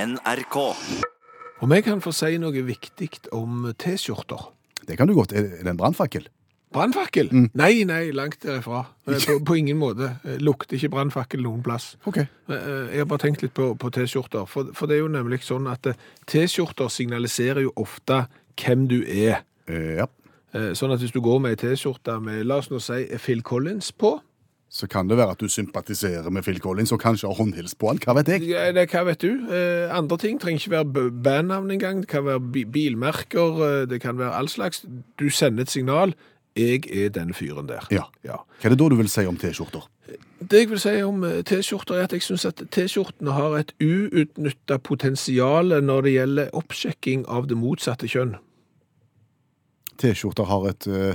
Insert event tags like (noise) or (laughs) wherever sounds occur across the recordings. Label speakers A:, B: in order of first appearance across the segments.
A: NRK.
B: Om jeg kan få si noe viktig om T-skjorter.
C: Det kan du godt. Er er det en brannfakkel?
B: Brannfakkel? Nei, nei, langt derifra. Eh, På, på ingen måte. Eh, Lukter ikke brannfakkel noen plass.
C: OK.
B: Eh, eh, Jeg har bare tenkt litt på, på T-skjorter. For, for det er jo nemlig sånn at eh, T-skjorter signaliserer jo ofte hvem du er.
C: Eh, ja.
B: Eh, Sånn at hvis du går med ei T-skjorte med, la oss nå si, Phil Collins på
C: Så kan det være at du sympatiserer med Phil Collins og kanskje har håndhils på han. Hva vet jeg?
B: ja, det, Hva vet du? Eh, Andre ting trenger ikke være b- bandnavn engang. Det kan være bi- bilmerker, eh, det kan være all slags. Du sender et signal. Jeg er den fyren der.
C: Ja.
B: ja.
C: Hva er det da du vil si om T-skjorter?
B: Det jeg vil si om eh, T-skjorter, er at jeg syns at T-skjortene har et uutnytta potensial når det gjelder oppsjekking av det motsatte kjønn.
C: T-skjorter har et eh,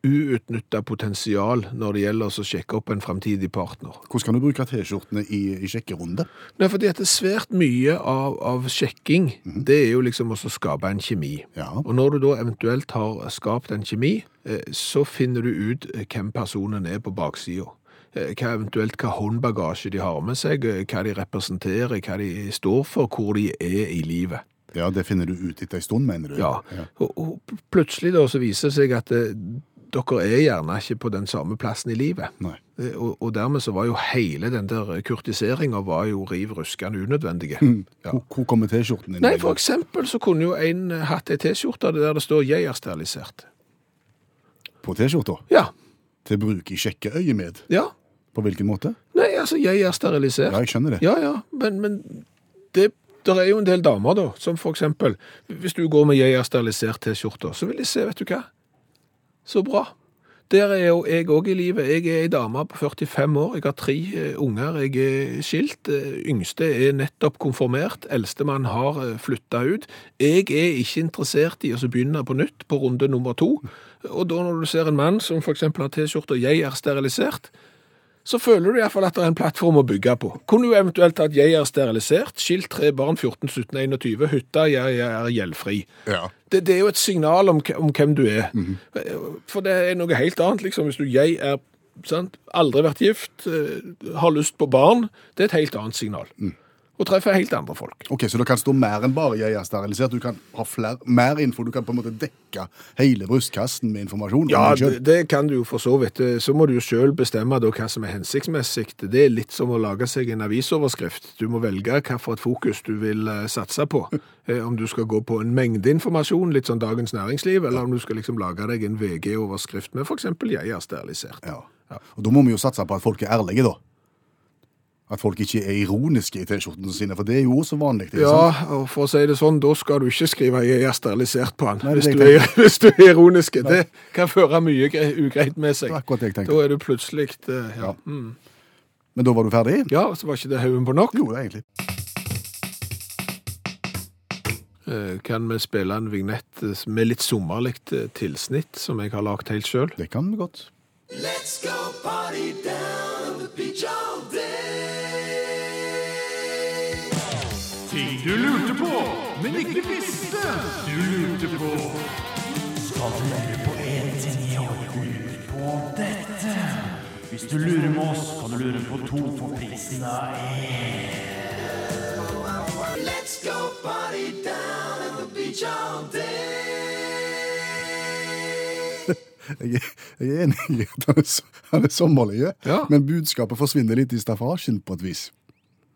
B: Uutnytta potensial når det gjelder å sjekke opp en framtidig partner.
C: Hvordan kan du bruke T-skjortene i, i sjekkerunde?
B: Nei, fordi at det er svært mye av, av sjekking, det er jo liksom også å skape en kjemi.
C: Ja.
B: Og når du da eventuelt har skapt en kjemi, eh, så finner du ut eh, hvem personen er på baksida. Eh, Hva eventuelt hva håndbagasje de har med seg, eh, hva de representerer, hva de står for, hvor de er i livet.
C: Ja, det finner du ut etter ei stund, mener du?
B: Ja, og, og plutselig da så viser det seg at eh, dere er gjerne ikke på den samme plassen i livet.
C: Nei.
B: Eh, Og, og dermed så var jo hele den der kurtiseringen var jo riv ruskende unødvendige.
C: Hmm.
B: Ja.
C: Mm. Hvor, hvor kommer T-skjorten inn?
B: Nei, for eksempel så kunne jo en eh, hatt ei T-skjorte der det står 'Jeg er sterilisert'.
C: På T-skjorta?
B: Ja.
C: Til bruk i sjekkeøyemed?
B: Ja.
C: På hvilken måte?
B: Nei, altså, 'Jeg er sterilisert'.
C: Ja, jeg skjønner det.
B: Ja, ja, men, men det der er jo en del damer, da, som for eksempel Hvis du går med 'jeg er sterilisert' T-skjorta, så vil de se, vet du hva Så bra. Der er jo jeg òg i livet. Jeg er ei dame på 45 år, jeg har tre eh, unger, jeg er skilt. eh, Yngste er nettopp konfirmert, eldstemann har flytta ut. Jeg er ikke interessert i å så begynne på nytt på runde nummer to. Og da når du ser en mann som f.eks. har T-skjorta 'jeg er sterilisert', så føler du iallfall at det er en plattform å bygge på. Kunne du eventuelt hatt 'jeg er sterilisert', skilt tre barn 14, 17, 21, hytta 'jeg er gjeldfri'.
C: Ja.
B: Det, det er jo et signal om, hva- om hvem du er. For det er noe helt annet, liksom. Hvis du 'jeg er sant? aldri vært gift, eh, har lyst på barn', det er et helt annet signal. Og treffer helt andre folk.
C: Ok, Så det kan stå mer enn bare 'jeg er sterilisert'? Du kan ha fler, mer info? Du kan på en måte dekke hele brystkassen med informasjon? om
B: Ja,
C: deg selv.
B: det, det kan du jo for så vidt. Eh, Så må du jo sjøl bestemme da hva som er hensiktsmessig. Det er litt som å lage seg en avisoverskrift. Du må velge hvilket fokus du vil eh, satse
C: (laughs)
B: på. Eh, Om du skal gå på en mengde informasjon, litt sånn Dagens Næringsliv, eller om du skal liksom lage deg en VG-overskrift med f.eks. 'Jeg er sterilisert'.
C: Ja. Og da må vi jo satse på at folk er ærlige, da. At folk ikke er ironiske i T-skjortene sine, for det er jo også vanlig. ikke sant?
B: Ja, og for å si det sånn, da skal du ikke skrive 'jeg er sterilisert' på han,
C: Nei, det
B: hvis,
C: er
B: du
C: det jeg
B: er, (laughs) hvis du er ironisk. Det kan føre mye gre- ugreit med seg.
C: Det var akkurat det jeg tenkte.
B: Da er du plutselig eh, Ja, Mm.
C: Men da var du ferdig?
B: ja så var ikke det haugen på nok.
C: Jo, det er egentlig.
B: Eh, Kan vi spille en vignett eh, med litt sommerlig eh, tilsnitt, som jeg har lagd helt sjøl?
C: Det kan vi godt.
A: Let's go party down on the beach all day.
D: Ting du lurte på, men ikke visste du lurte på. Skal du lure på én ting i år, lurer på dette. Hvis du lurer med oss, kan du lure på to for prisen av
A: Let's go party down on the beach all day.
C: Jeg, er- jeg er enig i at han er, så- han er sommerlig,
B: Ja.
C: men budskapet forsvinner litt i staffasjen på et vis.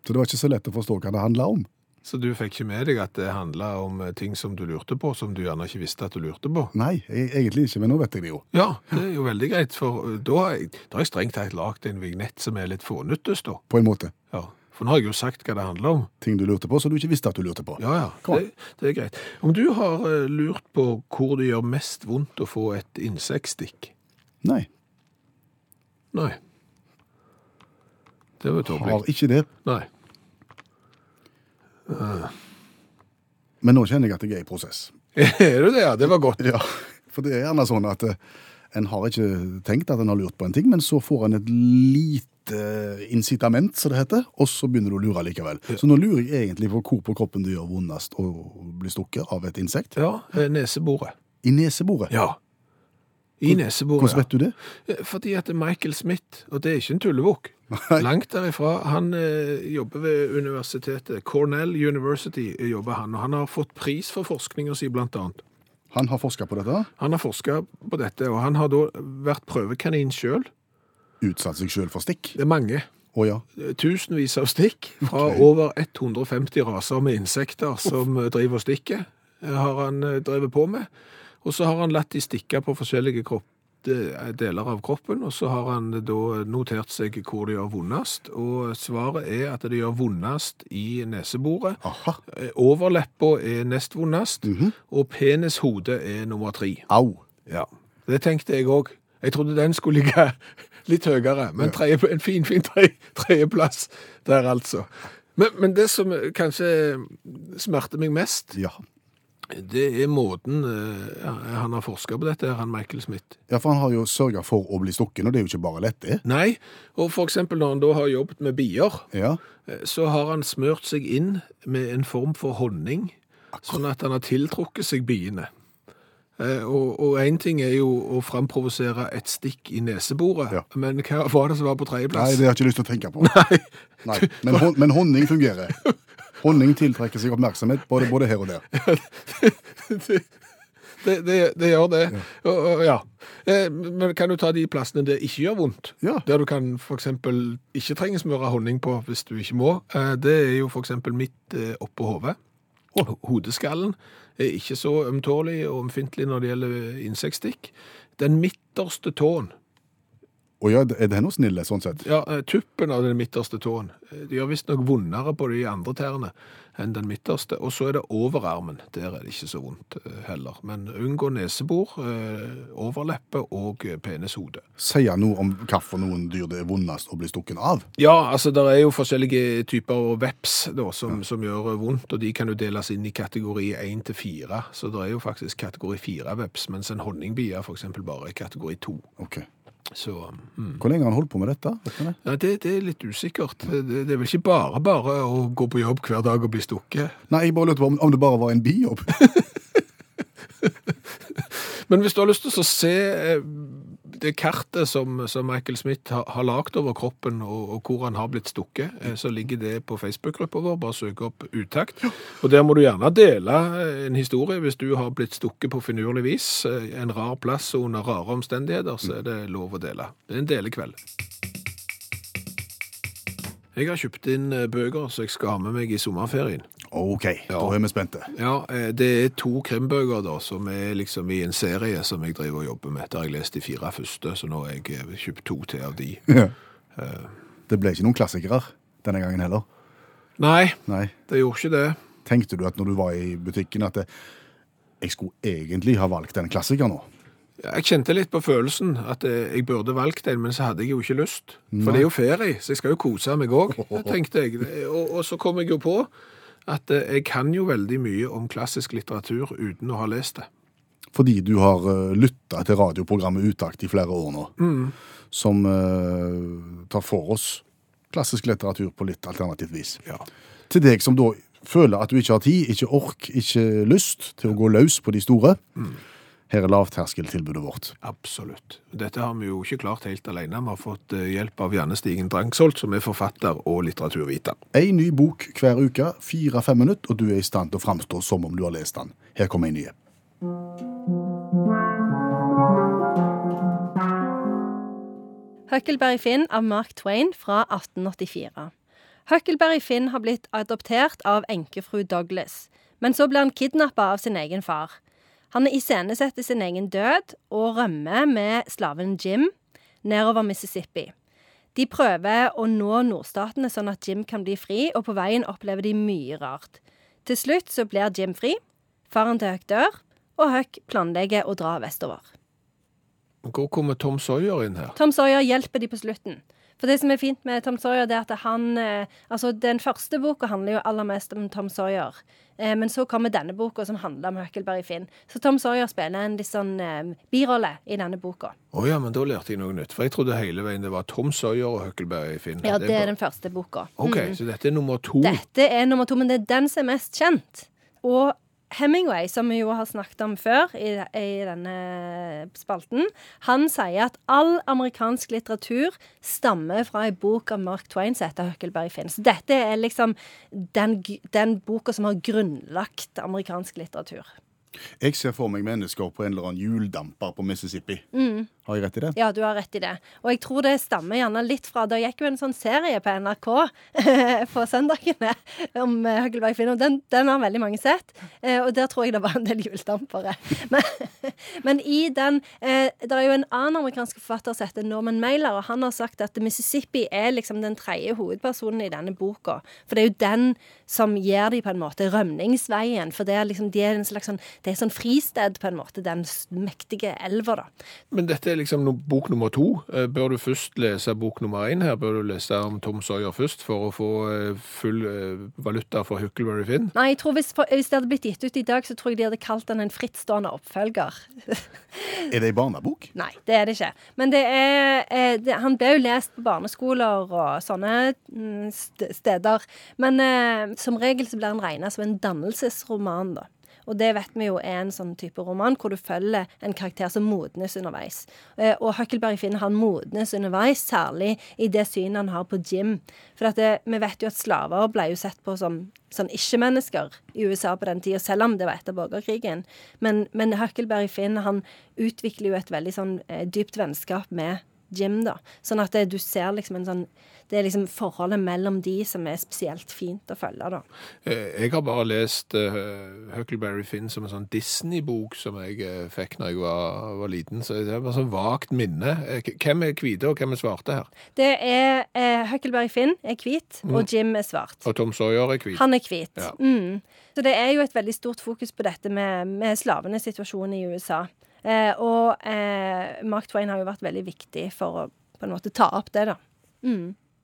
C: Så det var ikke så lett å forstå hva det handla om.
B: Så du fikk ikke med deg at det handla om eh, ting som du lurte på, som du gjerne ikke visste at du lurte på?
C: Nei, jeg, egentlig ikke, men nå vet jeg det jo.
B: Ja, det er jo veldig greit, for eh, da har jeg, da har jeg strengt tatt lagd en vignett som er litt fånyttes, da.
C: På en måte.
B: Ja, for nå har jeg jo sagt hva det handler om.
C: Ting du lurte på, som du ikke visste at du lurte på.
B: Ja, ja,
C: Kom.
B: det, det er greit. Om du har eh, lurt på hvor det gjør mest vondt å få et insektstikk?
C: Nei,
B: Nei. Det var tåpelig.
C: har ikke det.
B: Nei. (laughs)
C: Men nå kjenner jeg at jeg er i prosess.
B: Er du det? Ja, det var godt.
C: Ja, for det er gjerne sånn at eh, en har ikke tenkt at en har lurt på en ting, men så får en et lite incitament, som det heter, og så begynner du å lure likevel. Så nå lurer jeg egentlig på hvor på kroppen det gjør vondest å bli stukket av et insekt.
B: Ja, eh, neseboret.
C: I neseboret.
B: Ja. I neseborene.
C: Hvordan vet du det?
B: Fordi at Michael Smith, og det er ikke en tullebukk, langt derifra, han eh, jobber ved universitetet. Cornell University jobber han, og han har fått pris for forskningen sin, blant annet.
C: Han har forska på dette,
B: Han har forsket på dette, og han har da vært prøvekanin selv.
C: utsatt seg sjøl for stikk.
B: Det er mange.
C: Å ja.
B: Tusenvis av stikk fra over 150 raser med insekter som eh, driver og stikker, eh, har han eh, drevet på med. Og så har han latt de stikke på forskjellige kropp, de- eh, deler av kroppen, og så har han eh, da notert seg hvor det gjør vondest. Og svaret er at det gjør vondest i neseboret.
C: Aha.
B: Eh, Overleppa er nest vondest, og penishodet er nummer tre.
C: Au.
B: Ja, det tenkte jeg òg. Jeg trodde den skulle ligge (laughs) litt høyere, men tredje, en fin, fin tredje- tredjeplass der, altså. Men, men det som kanskje smerter meg mest,
C: Ja.
B: det er måten eh, han har forska på dette, her, han Michael Smith.
C: ja, for han har jo sørga for å bli stukken, og det er jo ikke bare lett, det.
B: Nei, og for eksempel når han da har jobbet med bier,
C: Ja.
B: eh, så har han smørt seg inn med en form for honning, sånn at han har tiltrukket seg biene. Eh, Og, og en ting er jo å framprovosere et stikk i nesebordet,
C: Ja.
B: men hva var det som var på
C: Nei,
B: tredjeplass?
C: det har jeg ikke lyst til å tenke på. Nei. Men, hon, men honning fungerer. Honning tiltrekker seg oppmerksomhet både, både her og der.
B: (laughs) det, det, det, det gjør det. Og, og, ja. Eh, Men kan du ta de plassene det ikke gjør vondt?
C: Ja.
B: Der du kan for eksempel ikke trenge smøre honning på hvis du ikke må. Eh, Det er jo for eksempel midt eh, oppå hodet. Hodeskallen er ikke så ømtålig og ømfintlig når det gjelder insektstikk. Den midterste tåen,
C: Å ja, er den hos snille, sånn sett?
B: ja, eh, tuppen av den midterste tåen, eh, det gjør visstnok vondere på de andre tærne enn den midterste. Og så er det overarmen. Der er det ikke så vondt eh, heller. Men unngå nesebor, eh, overleppe og eh, penishode.
C: Sier noe om hvorfor noen dyr det er vondest å bli stukken av?
B: Ja, altså det er jo forskjellige typer veps da, som, som gjør eh, vondt, og de kan jo deles inn i kategori 1 til 4, så det er jo faktisk kategori 4 veps, mens en honningbie er for eksempel bare i kategori 2.
C: Ok.
B: Så mm.
C: Hvor lenge har han holdt på med dette? Vet du det?
B: Nei, det, det er litt usikkert. Det, det er vel ikke bare bare å gå på jobb hver dag og bli stukket.
C: Nei, jeg bare lurte på om, om det bare var en bijobb.
B: Men hvis du har lyst til å se eh, det kartet som, som Michael Smith har, har lagt over kroppen, og, og hvor han har blitt stukket, eh, så ligger det på Facebook-gruppa vår. Bare søk opp Utakt. Og der må du gjerne dele eh, en historie hvis du har blitt stukket på finurlig vis. eh, En rar plass og under rare omstendigheter, så er det lov å dele. Det er en delekveld. Jeg har kjøpt inn eh, bøker som jeg skal ha med meg i sommerferien.
C: (laughs) Ok, da er vi spente.
B: Ja, eh, det er to krimbøker da, som er liksom i en serie som jeg driver og jobber med. Der har jeg lest de fire første, så nå har jeg eh, kjøpt to til av de.
C: Eh, Det ble ikke noen klassikere denne gangen heller.
B: Nei,
C: Nei.
B: det gjorde ikke det.
C: Tenkte du at når du var i butikken at det, jeg skulle egentlig ha valgt den klassikeren nå?
B: Jeg kjente litt på følelsen at eh, jeg burde valgt en, men så hadde jeg jo ikke lyst. For det er jo ferie, så jeg skal jo kose meg òg, tenkte jeg. Og, og så kom jeg jo på at eh, jeg kan jo veldig mye om klassisk litteratur uten å ha lest det.
C: Fordi du har uh, lytta til radioprogrammet Utakt i flere år nå, som eh, tar for oss klassisk litteratur på litt alternativt vis.
B: Ja.
C: Til deg som da føler at du ikke har tid, ikke ork, ikke lyst til å gå løs på de store. Her er lavterskeltilbudet vårt.
B: Absolutt. Dette har vi jo ikke klart helt alene. Vi har fått eh, hjelp av Janne Stigen Drangsholt, som er forfatter og litteraturviter.
C: Ei ny bok hver uke, fire-fem minutter, og du er i stand til å framstå som om du har lest den. Her kommer ei ny.
E: Huckleberry Finn av Mark Twain fra 1884. Huckleberry Finn har blitt adoptert av enkefru Douglas, men så blir han kidnappa av sin egen far. Han iscenesetter sin egen død og rømmer med slaven Jim nedover Mississippi. De prøver å nå nordstatene sånn at Jim kan bli fri, og på veien opplever de mye rart. Til slutt så blir Jim fri, faren til Huck dør, og Huck planlegger å dra vestover.
B: Hvor kommer Tom Sawyer inn her?
E: Tom Sawyer hjelper de på slutten. For det som er fint med Tom Sawyer, det er at han eh, Altså, den første boka handler jo aller mest om Tom Sawyer. Eh, men så kommer denne boka, som handler om Huckleberry Finn. Så Tom Sawyer spiller en litt sånn eh, birolle i denne boka.
B: Å ja, men da lærte jeg noe nytt. For jeg trodde hele veien det var Tom Sawyer og Huckleberry Finn.
E: Ja, det er Mm.
B: bare-
E: den første boka.
B: OK, så dette er nummer to.
E: Dette er nummer to, men det er den som er mest kjent. Og Hemingway, som vi jo har snakket om før i, i denne spalten, han sier at all amerikansk litteratur stammer fra ei bok av Mark Twain som heter Huckleberry Finn. Så dette er liksom den, g- den boka som har grunnlagt amerikansk litteratur.
C: Jeg ser for meg mennesker på en eller annen hjuldamper på Mississippi. Har jeg rett i det?
E: Ja, du har rett i det. Og jeg tror det stammer gjerne litt fra Det gikk jo en sånn serie på NRK (laughs) på søndagene om eh, Huckleberry Finn, og den, den har veldig mange sett. Eh, Og der tror jeg det var en del hjuldampere. (laughs) Men, men i den eh, Det er jo en annen amerikansk forfatter som heter Norman Mailer, og han har sagt at Mississippi er liksom den tredje hovedpersonen i denne boka. For det er jo den som gir de på en måte rømningsveien. For det er liksom de er en slags sånn, det er sånn fristed, på en måte, den s- mektige elva, da.
B: Men dette er liksom no bok nummer to. Eh, Bør du først lese bok nummer én her? Bør du lese om Tom Sawyer først for å få eh, full eh, valuta for Huckleberry Finn?
E: Nei, jeg tror hvis, for, hvis det hadde blitt gitt ut i dag, så tror jeg de hadde kalt den en frittstående oppfølger. (laughs)
C: Er det ei barnebok?
E: Nei, det er det ikke. Men det er, eh, det, han ble jo lest på barneskoler og sånne mm, st steder. Men eh, som regel så blir han regna som en dannelsesroman, da. Og det vet vi jo er en sånn type roman hvor du følger en karakter som modnes underveis. Eh, Og Huckleberry Finn han modnes underveis, særlig i det synet han har på Jim. For at det, vi vet jo at slaver ble jo sett på som sånn ikke-mennesker i USA på den tida, selv om det var etter borgerkrigen. Men, men Huckleberry Finn han utvikler jo et veldig sånn eh, dypt vennskap med Jim, da. Sånn at det, du ser liksom en sånn Det er liksom forholdet mellom de som er spesielt fint å følge, da.
B: Eh, Jeg har bare lest eh, Huckleberry Finn som en sånn Disney-bok som jeg eh, fikk når jeg var, var liten, så det var sånn vagt minne. Eh, k- Hvem er hvite, og hvem er svarte her?
E: Det er eh, Huckleberry Finn er hvit, og Jim er svart.
B: Og Tom Sawyer er hvit.
E: Han er hvit.
B: Ja.
E: Mm. Så det er jo et veldig stort fokus på dette med, med slavenes situasjon i USA. Eh, og eh, Mark Twain har jo vært veldig viktig for å på en måte ta opp det, da.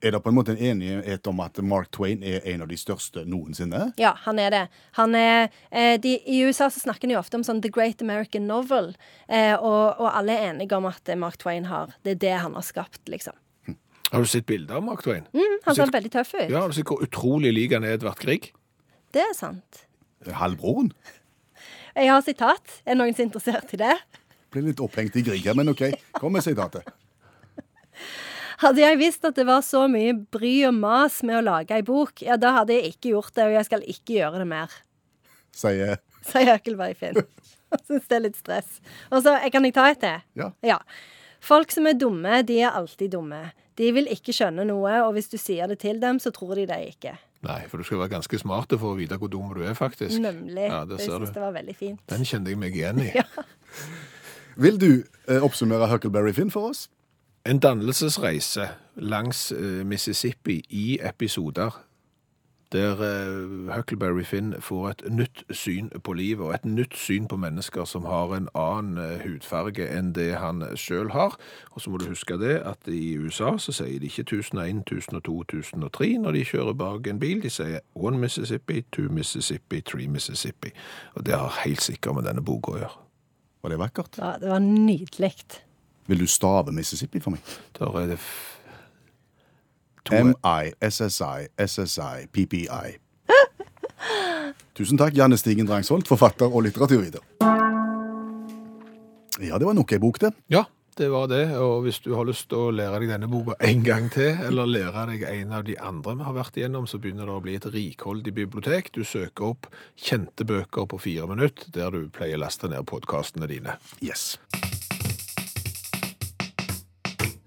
C: Er det på en måte en enighet om at Mark Twain er en av de største noensinne?
E: Ja, han er det. Han er, eh, de, I USA så snakker de jo ofte om sånn The Great American Novel, eh, og, og alle er enige om at eh, Mark Twain har Det er det han har skapt, liksom.
B: Har du sett bilder av Mark Twain?
E: Mm, han ser veldig tøff ut.
B: Ja, har du sett hvor utrolig lik han er Edvard Grieg?
E: Det er sant.
C: Halvbroren?
E: Jeg har sitat. Er noen som er interessert i det?
C: Ble litt opphengt i Grieg her, men OK. Kom med sitatet.
E: Hadde jeg visst at det var så mye bry og mas med å lage ei bok, ja, da hadde jeg ikke gjort det, og jeg skal ikke gjøre det mer, (laughs)
C: Sier
E: sier Økelberg Finn. (laughs) Han syns det er litt stress. Og så jeg- kan jeg ta et til?
C: Ja.
E: Folk som er dumme, de er alltid dumme. De vil ikke skjønne noe, og hvis du sier det til dem, så tror de det ikke.
B: Nei, for du skal være ganske smart for å vite hvor dum du er, faktisk.
E: Nemlig.
B: (laughs) Ja,
E: Og
B: det
E: jeg
B: ser
E: syns det
B: du.
E: var veldig fint.
B: Den kjente jeg meg igjen i.
C: Vil du eh, oppsummere Huckleberry Finn for oss?
B: En dannelsesreise langs eh, Mississippi i episoder der eh, Huckleberry Finn får et nytt syn på livet, og et nytt syn på mennesker som har en annen eh, hudfarge enn det han sjøl har. Og så må du huske det at i USA så sier de ikke 1001, 1002, 1003 når de kjører bak en bil. De sier One Mississippi, Two Mississippi, Three Mississippi. Og det har helt sikkert med denne boka å gjøre.
C: Var det vakkert?
E: Ja, det var nydelig.
C: Vil du stave Mississippi for meg?
B: Der er det f To-
C: M-I-S-S-I-S-S-I-P-P-I. Tusen takk, Janne Stigen Drangsholt, forfatter og litteraturviter. Ja, det var nok ei bok, det.
B: Ja, det var det. Og hvis du har lyst til å lære deg denne boka en gang til, eller lære deg en av de andre vi har vært igjennom, så begynner det å bli et rikholdig bibliotek. Du søker opp kjente bøker på fire minutter, der du pleier å laste ned podkastene dine.
C: Yes.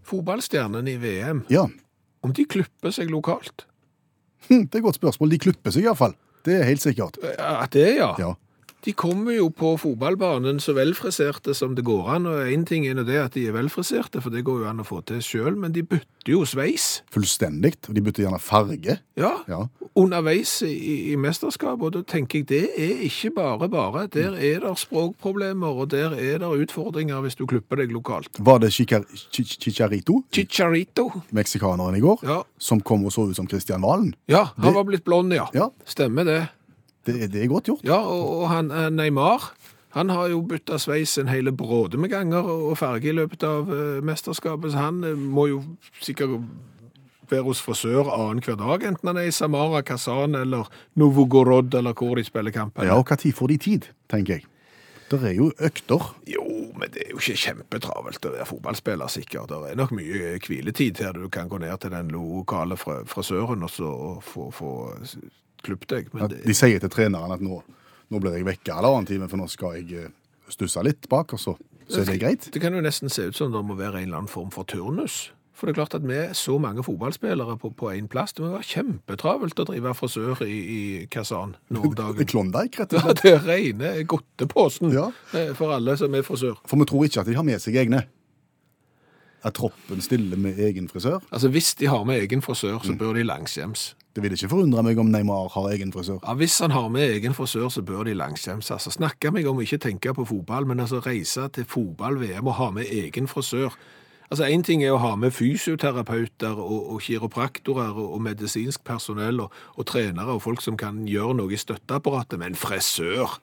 B: Fotballstjernene i VM,
C: Ja,
B: om de klipper seg lokalt?
C: hm, det er et godt spørsmål. De klipper seg iallfall. Det er helt sikkert.
B: Eh, At det, ja.
C: Ja.
B: De kommer jo på fotballbanen så velfriserte som det går an. Og én ting er nå det at de er velfriserte, for det går jo an å få til sjøl, men de bytter jo sveis.
C: Fullstendig. Og de bytter gjerne farge.
B: Ja,
C: Ja.
B: underveis i, i mesterskapet, og da tenker jeg det er ikke bare bare. Der er det språkproblemer, og der er det utfordringer hvis du klipper deg lokalt.
C: Var det Chicar Chi- Chi- Chicharito,
B: Chicharito.
C: meksikaneren i går,
B: Ja,
C: som kom og så ut som Christian Valen?
B: ja han
C: Det-
B: var blitt blond, ja.
C: Ja.
B: Stemmer det.
C: Det, det er godt gjort.
B: Ja, og, og han eh, Neymar, han har jo bytta sveis en hele bråde med ganger og og farge i løpet av eh, mesterskapet, så han eh, må jo sikkert spiller hos frisør annenhver dag, enten han er i Samara, Kazan eller Novogorod, eller hvor de spiller kamp.
C: Ja, og når får de tid, tenker jeg. Det er jo økter.
B: Jo, men det er jo ikke kjempetravelt å være fotballspiller, sikkert. Det er nok mye hviletid her. Du kan gå ned til den lokale fr- frisøren og så få, få klippet deg. Men
C: At
B: det,
C: De sier til treneren at nå, nå blir jeg vekka halvannen time, for nå skal jeg eh, stusse litt bak, og så, så er det greit.
B: Det kan jo nesten se ut som det må være en eller annen form for turnus. For det er klart at vi er så mange fotballspillere på, på en plass. Det må være kjempetravelt å drive frisør i, i Kazan nå om
C: I
B: dagen.
C: Klondyke, rett
B: (laughs)
C: og
B: Ja,
C: slett.
B: det regner godteposen
C: Ja.
B: eh, for alle som er frisør.
C: For vi tror ikke at de har med seg egne. At troppen stiller med egen frisør.
B: Altså, hvis de har med egen frisør,
C: Mm.
B: så bør de langskjems.
C: Det vil ikke forundre meg om Neymar har egen frisør.
B: Ja, hvis han har med egen frisør, så bør de langskjems. Altså, snakke meg om å ikke tenke på fotball, men altså reise til fotball-VM og ha med egen frisør. Altså, en ting er å ha med fysioterapeuter og, og kiropraktorer og, og medisinsk personell og, og trenere og folk som kan gjøre noe i støtteapparatet, men frisør!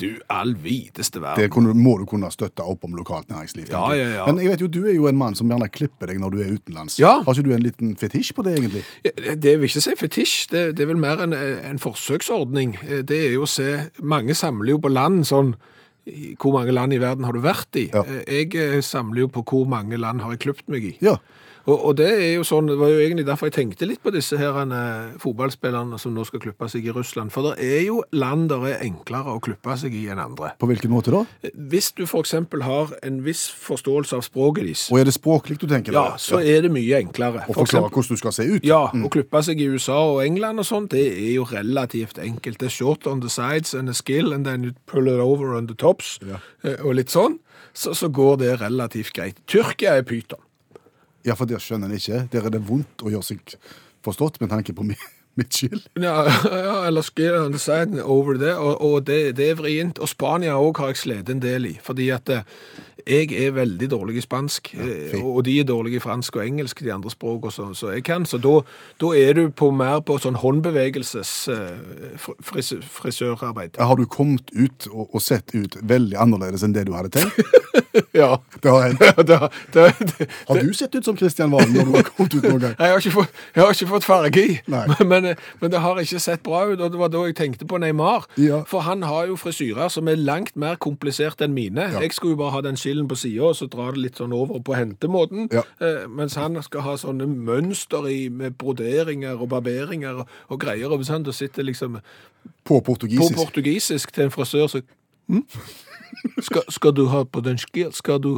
B: Du all videste
C: Det
B: verden.
C: kunne, må du kunne støtte opp om lokalt næringsliv.
B: Ja,
C: tenker jeg.
B: ja, ja.
C: Men jeg vet jo, du er jo en mann som gjerne klipper deg når du er utenlands.
B: Ja.
C: Har ikke du en liten fetisj på det, egentlig?
B: Ja, Det vil ikke si fetisj, det, det er vel mer en, en forsøksordning. Eh, Det er jo å se Mange samler jo på land sånn i- Hvor mange land i verden har du vært i?
C: Ja.
B: Eh, Jeg eh, samler jo på hvor mange land har jeg klippet meg i.
C: Ja.
B: Og, og det er jo sånn, det var jo egentlig derfor jeg tenkte litt på disse her eh, fotballspillerne som nå skal klippe seg i Russland. For det er jo land der er enklere å klippe seg i enn andre.
C: På hvilken måte da?
B: Eh, Hvis du f.eks. har en viss forståelse av språket deres,
C: Og er det språklig du tenker?
B: ja,
C: da?
B: så er det mye enklere.
C: Og
B: For eksempel-
C: forklare hvordan du skal se ut? Mm.
B: ja, å klippe seg i USA og England og sånn, det er jo relativt enkelt. Det er short on the sides and a skill, and then you pull it over on the tops, eh, og litt sånn. Så, så går det relativt greit. Tyrkia er pyton.
C: Ja, for der skjønner en ikke. Der er det vondt å gjøre seg forstått med tanke på mi- (laughs) mitt skyld.
B: Ja, (laughs) ja, eller skill on the side over there, og, og det, det er vrient. Og Spania òg har jeg slitt en del i, fordi at eh, jeg er veldig dårlig i spansk, eh,
C: fint.
B: og de er dårlige i fransk og engelsk, de andre språkene som som jeg kan. Så da da er du på mer på sånn håndbevegelses eh, fr- fris, frisørarbeid.
C: Har du kommet ut og, og sett ut veldig annerledes enn det du hadde tenkt?
B: (laughs) Ja. (laughs)
C: Det har hendt.
B: da, da, det,
C: Har du sett ut som Kristian Valen når du har kommet ut
B: (laughs)
C: noen gang?
B: jeg, har ikke fått, jeg har ikke fått farge i,
C: Nei.
B: (laughs) men, eh, men det har ikke sett bra ut. Og det var da jeg tenkte på Neymar.
C: Ja.
B: For han har jo frisyrer som er langt mer komplisert enn mine.
C: Ja.
B: Jeg skulle jo bare ha den skillen på sida og så dra det litt sånn over på hentemåten.
C: Ja.
B: Eh, mens han skal ha sånne mønster i, med broderinger og barberinger og, og greier. Og sånn, da sitter liksom
C: På
B: på
C: portugisisk.
B: portugisisk til en frisør så «Hm? skal, skal du ha på den skil? Skal du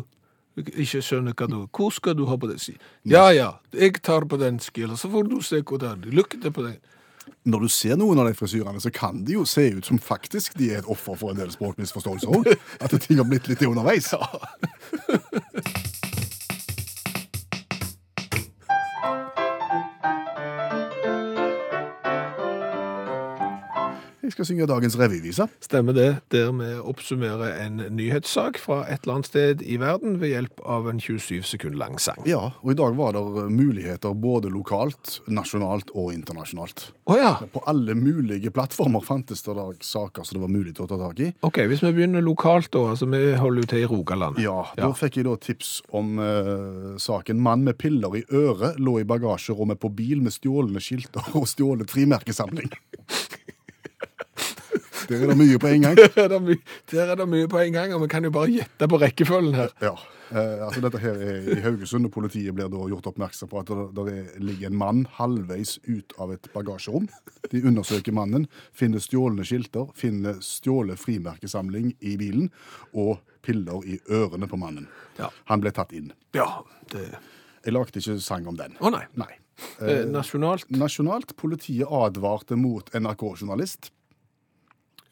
B: Ikke skjønner hva du Hvor skal du ha på den skil? Ja ja, jeg tar på den skil, så får du se hvordan det er. Lykke til på den.
C: når du ser noen av de frisyrene, så kan de jo se ut som faktisk de er et offer for en del språkmisforståelser òg. At ting har blitt litt underveis. Jeg skal synge dagens revyvise.
B: Stemmer det. Der vi oppsummerer en nyhetssak fra et eller annet sted i verden ved hjelp av en 27 sekund lang sang.
C: Ja, og i dag var det muligheter både lokalt, nasjonalt og internasjonalt.
B: Å ja.
C: På alle mulige plattformer fantes det da saker som det var mulig til å ta tak i.
B: OK, hvis vi begynner lokalt, da. Altså, vi holder jo til i Rogaland.
C: Ja, da fikk jeg da tips om eh, saken. Mann med piller i øret lå i bagasjerommet på bil med stjålne skilter og stjålet frimerkesamling. (laughs) Der er det mye på en gang.
B: (laughs) Der er det my- Der er det mye på en gang, og vi kan jo bare gjette på rekkefølgen her.
C: Ja, eh, altså Dette her er i Haugesund, og politiet blir da gjort oppmerksom på at det der er- ligger en mann halvveis ut av et bagasjerom. De undersøker mannen, finner stjålne skilter, finner stjålet frimerkesamling i bilen og piller i ørene på mannen.
B: Ja.
C: Han ble tatt inn.
B: Ja, det...
C: Jeg lagde ikke sang om den.
B: Å nei.
C: Nei.
B: Eh, nasjonalt
C: Nasjonalt, politiet advarte mot NRK-journalist.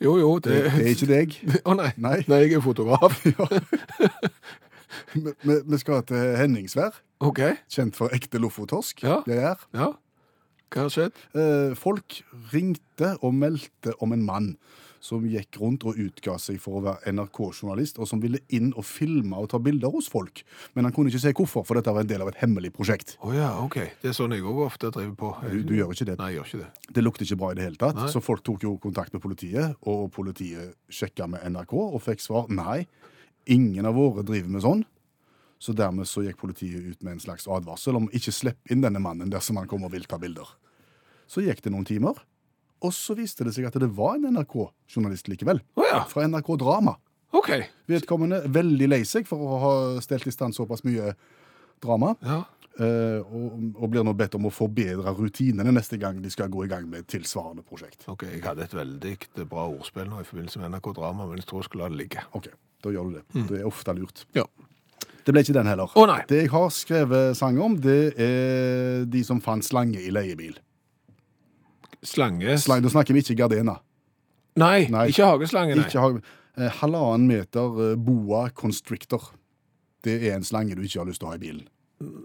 B: Jo, jo,
C: Det,
B: det
C: det er ikke
B: (laughs)
C: deg.
B: Eh, Å nei. nei.
C: Nei.
B: jeg er fotograf.
C: (laughs) Vi- Vi vi skal til Henningsvær,
B: OK.
C: kjent for ekte lofotorsk.
B: Ja.
C: Det er.
B: Ja. Hva har skjedd?
C: Eh, Folk ringte og meldte om en mann som gikk rundt og utga seg for å være NRK-journalist, og som ville inn og filme og ta bilder hos folk. Men han kunne ikke se hvorfor, for dette var en del av et hemmelig prosjekt.
B: Å ja, OK. Det er sånn jeg òg ofte driver på.
C: Du, du gjør ikke det.
B: Nei, jeg gjør ikke det.
C: Det lukter ikke bra i det hele tatt,
B: Nei.
C: så folk tok jo kontakt med politiet, og politiet sjekka med NRK og fikk svar nei. Ingen av våre driver med sånn, Så dermed så gikk politiet ut med en slags advarsel om ikke slipp inn denne mannen dersom han kommer og vil ta bilder. Så gikk det noen timer, og så viste det seg at det var en NRK-journalist likevel.
B: Å ja.
C: Fra NRK Drama.
B: OK.
C: Vedkommende veldig lei seg for å ha stelt i stand såpass mye drama,
B: Ja.
C: eh, og, og blir nå bedt om å forbedre rutinene neste gang de skal gå i gang med et tilsvarende prosjekt.
B: Ok, Jeg hadde et veldig bra ordspill nå i forbindelse med NRK Drama, men jeg tror jeg skulle la det ligge.
C: Ok, da gjør du det. Det er ofte lurt.
B: Ja.
C: Det ble ikke den heller.
B: Mm. Å, nei.
C: Det jeg har skrevet sang om, det er de som fant slange i leiebil.
B: Slange
C: Slange, da snakker vi ikke gardena.
B: Nei,
C: Nei.
B: ikke hageslange, nei.
C: Ikke har, eh, halvannen meter eh, boa constrictor. Det er en slange du ikke har lyst til å ha i bilen.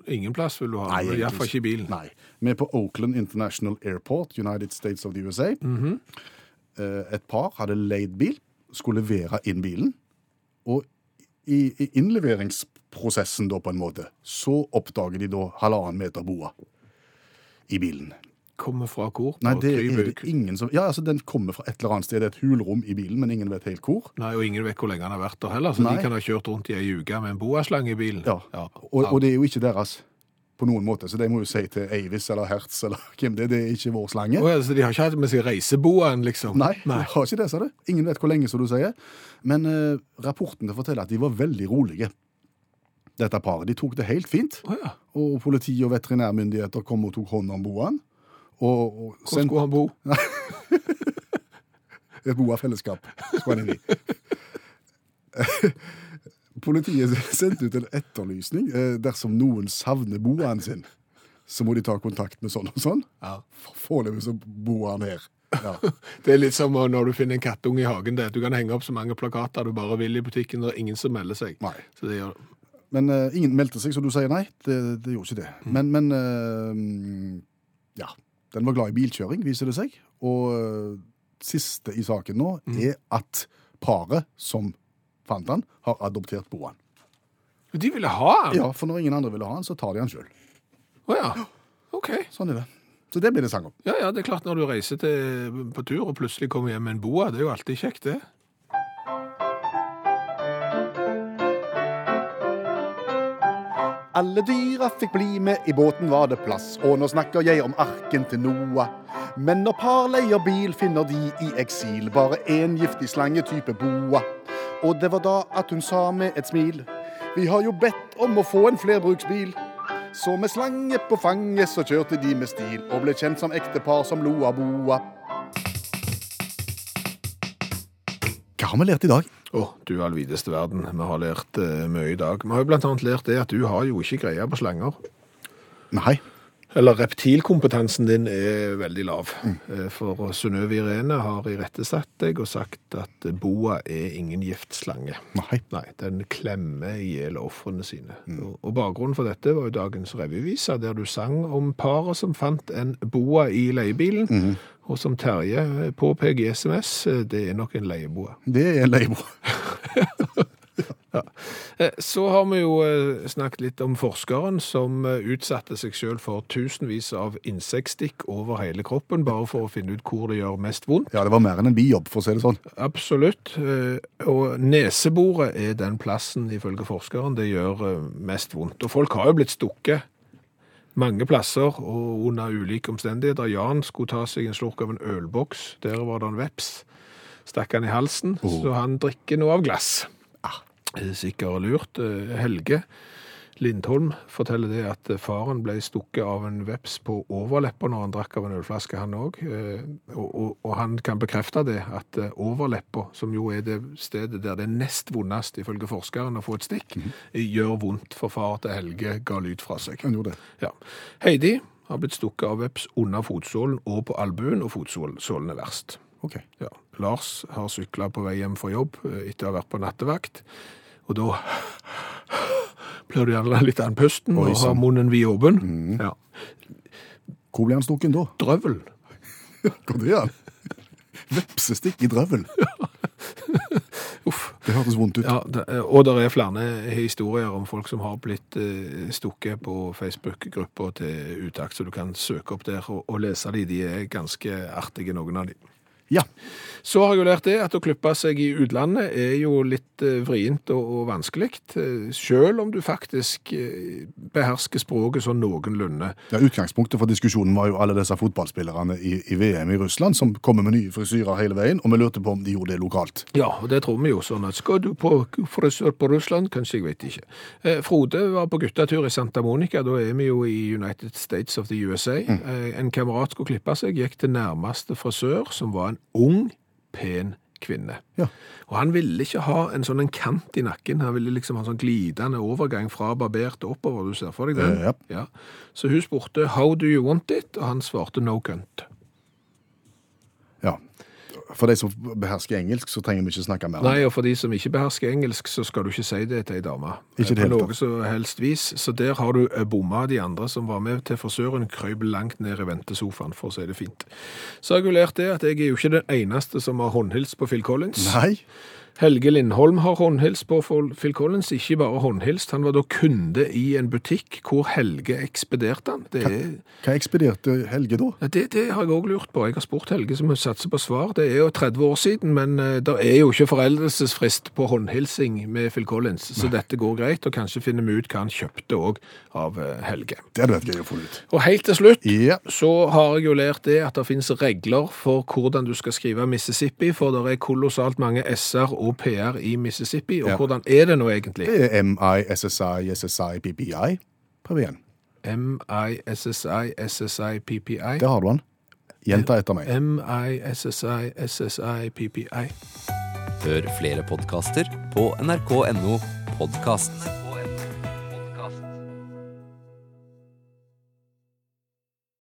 B: Ingen plass vil du ha.
C: egentlig
B: Iallfall ikke i bilen.
C: Nei. Vi er på Oakland International Airport, United States of the USA. Eh, Et par hadde leid bil, skulle levere inn bilen, og i, i innleveringsprosessen da på en måte, så oppdager de da halvannen meter boa i bilen.
B: Kommer fra hvor?
C: Nei,
B: Bare
C: det er
B: kryper
C: det
B: ut.
C: ingen som... Ja, altså den kommer fra et eller annet sted, det er et hulrom i bilen, men ingen vet helt hvor.
B: Nei, og ingen vet hvor lenge han har vært der heller, så
C: Nei.
B: de kan ha kjørt rundt i ei uke med en boaslange i bilen.
C: Ja. Og, og det er jo ikke deres på noen måte, så det må jo si til Eivis eller Hertz eller (laughs) hvem det er, det er ikke vår slange.
B: Å ja, så de har ikke hatt med seg reiseboaen, liksom?
C: Nei, de har ikke det, sa du. Ingen vet hvor lenge, som du sier. Men eh, rapportene forteller at de var veldig rolige, dette paret. De tok det helt fint.
B: Å ja.
C: Og politi og veterinærmyndigheter kom og tok hånd om boaen. Og, og
B: Hvor skulle han bo?
C: et boafellesskap skulle han inn i. (laughs) Politiet sendte ut en etterlysning. eh, Dersom noen savner boaen sin, så må de ta kontakt med sånn og sånn.
B: Ja.
C: Foreløpig så bor han her.
B: (laughs)
C: Ja.
B: Det er litt som eh, når du finner en kattunge i hagen. Det. Du kan henge opp så mange plakater du bare vil i butikken, og det er ingen som melder seg.
C: Nei.
B: Så det gjør...
C: Men eh, ingen meldte seg, så du sier nei. Det, det gjorde ikke det. Men, men eh, ja. Den var glad i bilkjøring, viser det seg. Og eh, siste i saken nå er at paret som fant han, har adoptert boaen.
B: Men De ville ha den!
C: Ja, for når ingen andre ville ha han, så tar de han sjøl.
B: Å ja. OK.
C: Sånn er det. Så det blir det sang om.
B: Ja, ja, det er klart når du reiser til, på tur og plutselig kommer hjem med en boa, det er jo alltid kjekt, det.
F: Alle dyra fikk bli med, i båten var det plass. Og nå snakker jeg om arken til Noah. Men når par leier bil, finner de i eksil bare én giftig slange type boa. Og det var da at hun sa med et smil, vi har jo bedt om å få en flerbruksbil. Så med slange på fanget så kjørte de med stil, og ble kjent som ektepar som lo av boa.
C: Hva har vi lært i dag?
B: Å, du all videste verden. Vi har lært eh, mye i dag. Vi har jo blant annet lært det at du har jo ikke greie på slanger.
C: Nei.
B: Eller reptilkompetansen din er veldig lav. Eh, For Synnøve Irene har irettesatt deg og sagt at boa er ingen giftslange.
C: Nei.
B: Nei, den klemmer i hjel ofrene sine. Og- Og bakgrunnen for dette var jo dagens revyvise, der du sang om paret som fant en boa i leiebilen, og som Terje påpeker i SMS, eh, det er nok en leieboa.
C: Det er leiebo.
B: Eh, Så har vi jo eh, snakket litt om forskeren som eh, utsatte seg selv for tusenvis av insektstikk over hele kroppen, bare for å finne ut hvor det gjør mest vondt.
C: Ja, det var mer enn en bijobb, for å si det sånn.
B: Absolutt. eh, Og neseboret er den plassen, ifølge forskeren, det gjør eh, mest vondt. Og folk har jo blitt stukket mange plasser og under ulike omstendigheter. Jan skulle ta seg en slurk av en ølboks. Der var det en veps. Stakk han i halsen, så han drikker nå av glass. Eh, Sikkert lurt. Eh, Helge Lindholm forteller det at eh, faren ble stukket av en veps på overleppa når han drakk av en ølflaske, han òg. Og, og, og han kan bekrefte det, at eh, overleppa, som jo er det stedet der det er nest vondest, ifølge forskeren, å få et stikk, gjør vondt for far til Helge ga lyd fra seg.
C: Han gjorde det.
B: Ja. Heidi har blitt stukket av veps under fotsålen og på albuen, og fotsålen er verst.
C: Ok.
B: Ja. Lars har sykla på vei hjem fra jobb eh, etter å ha vært på nattevakt. Og da blir du gjerne litt andpusten
C: Oi,
B: og har
C: sann.
B: munnen vid åpen. Ja.
C: Hvor ble han stukken da?
B: Drøvel.
C: Hvor det er han? (laughs) Vepsestikk i drøvel.
B: Uff.
C: Det hørtes vondt ut.
B: Ja, det- eh, og det er flere historier om folk som har blitt eh, stukket på Facebook-grupper til utakt, så du kan søke opp der og, og lese de. De er ganske artige, noen av de.
C: Ja.
B: Så har jeg jo lært det at å klippe seg i utlandet er jo litt eh, vrient og, og vanskelig, eh, selv om du faktisk eh, behersker språket sånn noenlunde.
C: ja. Utgangspunktet for diskusjonen var jo alle disse fotballspillerne i, i VM i Russland som kommer med nye frisyrer hele veien, og vi lurte på om de gjorde det lokalt.
B: Ja, og det tror vi jo sånn at skal du på frisør på Russland? Kanskje, jeg vet ikke. Eh, Frode var på guttatur i Santa Monica, da er vi jo i United States of the USA. Eh, en kamerat skulle klippe seg, gikk til nærmeste frisør, som var en ung, pen kvinne.
C: Ja.
B: Og han ville ikke ha en sånn en kant i nakken, han ville liksom ha en sånn glidende overgang fra barbert og oppover, du ser for deg den.
C: Eh, ja.
B: ja. Så hun spurte, how do you want it? Og han svarte, no cunt.
C: Ja. For de som behersker engelsk, så trenger vi ikke snakke mer. om det.
B: Nei, og for de som ikke behersker engelsk, så skal du ikke si det til ei dame.
C: Ikke i det
B: På
C: hele
B: noe
C: tatt.
B: som helst vis. Så der har du eh, bomma de andre som var med til frisøren, krøyp langt ned i ventesofaen, for å si det fint. Så har jeg jo lært det at jeg er jo ikke den eneste som har håndhilst på Phil Collins.
C: Nei?
B: Helge Lindholm har håndhilst på Phil- Phil Collins. Ikke bare håndhilst, han var da kunde i en butikk hvor Helge ekspederte han. Det er...
C: Hva ekspederte Helge da?
B: Ja, Det, det har jeg òg lurt på. Jeg har spurt Helge, som satser på svar. Det er jo 30 år siden, men eh, det er jo ikke foreldelsesfrist på håndhilsing med Phil Collins, så dette går greit. Og kanskje finner vi ut hva han kjøpte òg av eh, Helge.
C: Det hadde vært gøy å få ut.
B: Og helt til slutt
C: Ja.
B: så har jeg jo lært det at det finnes regler for hvordan du skal skrive Mississippi, for det er kolossalt mange s-er og p-er i Mississippi. Og
C: Ja.
B: hvordan er det nå egentlig?
C: Det er M-I-S-S-I-S-S-I-P-P-I. Prøv igjen.
B: M-I-S-S-I-S-S-I-P-P-I.
C: Der har du den. Gjenta etter meg.
B: M-I-S-S-I-S-S-I-P-P-I.
G: Hør flere podkaster på nrk.no podkast.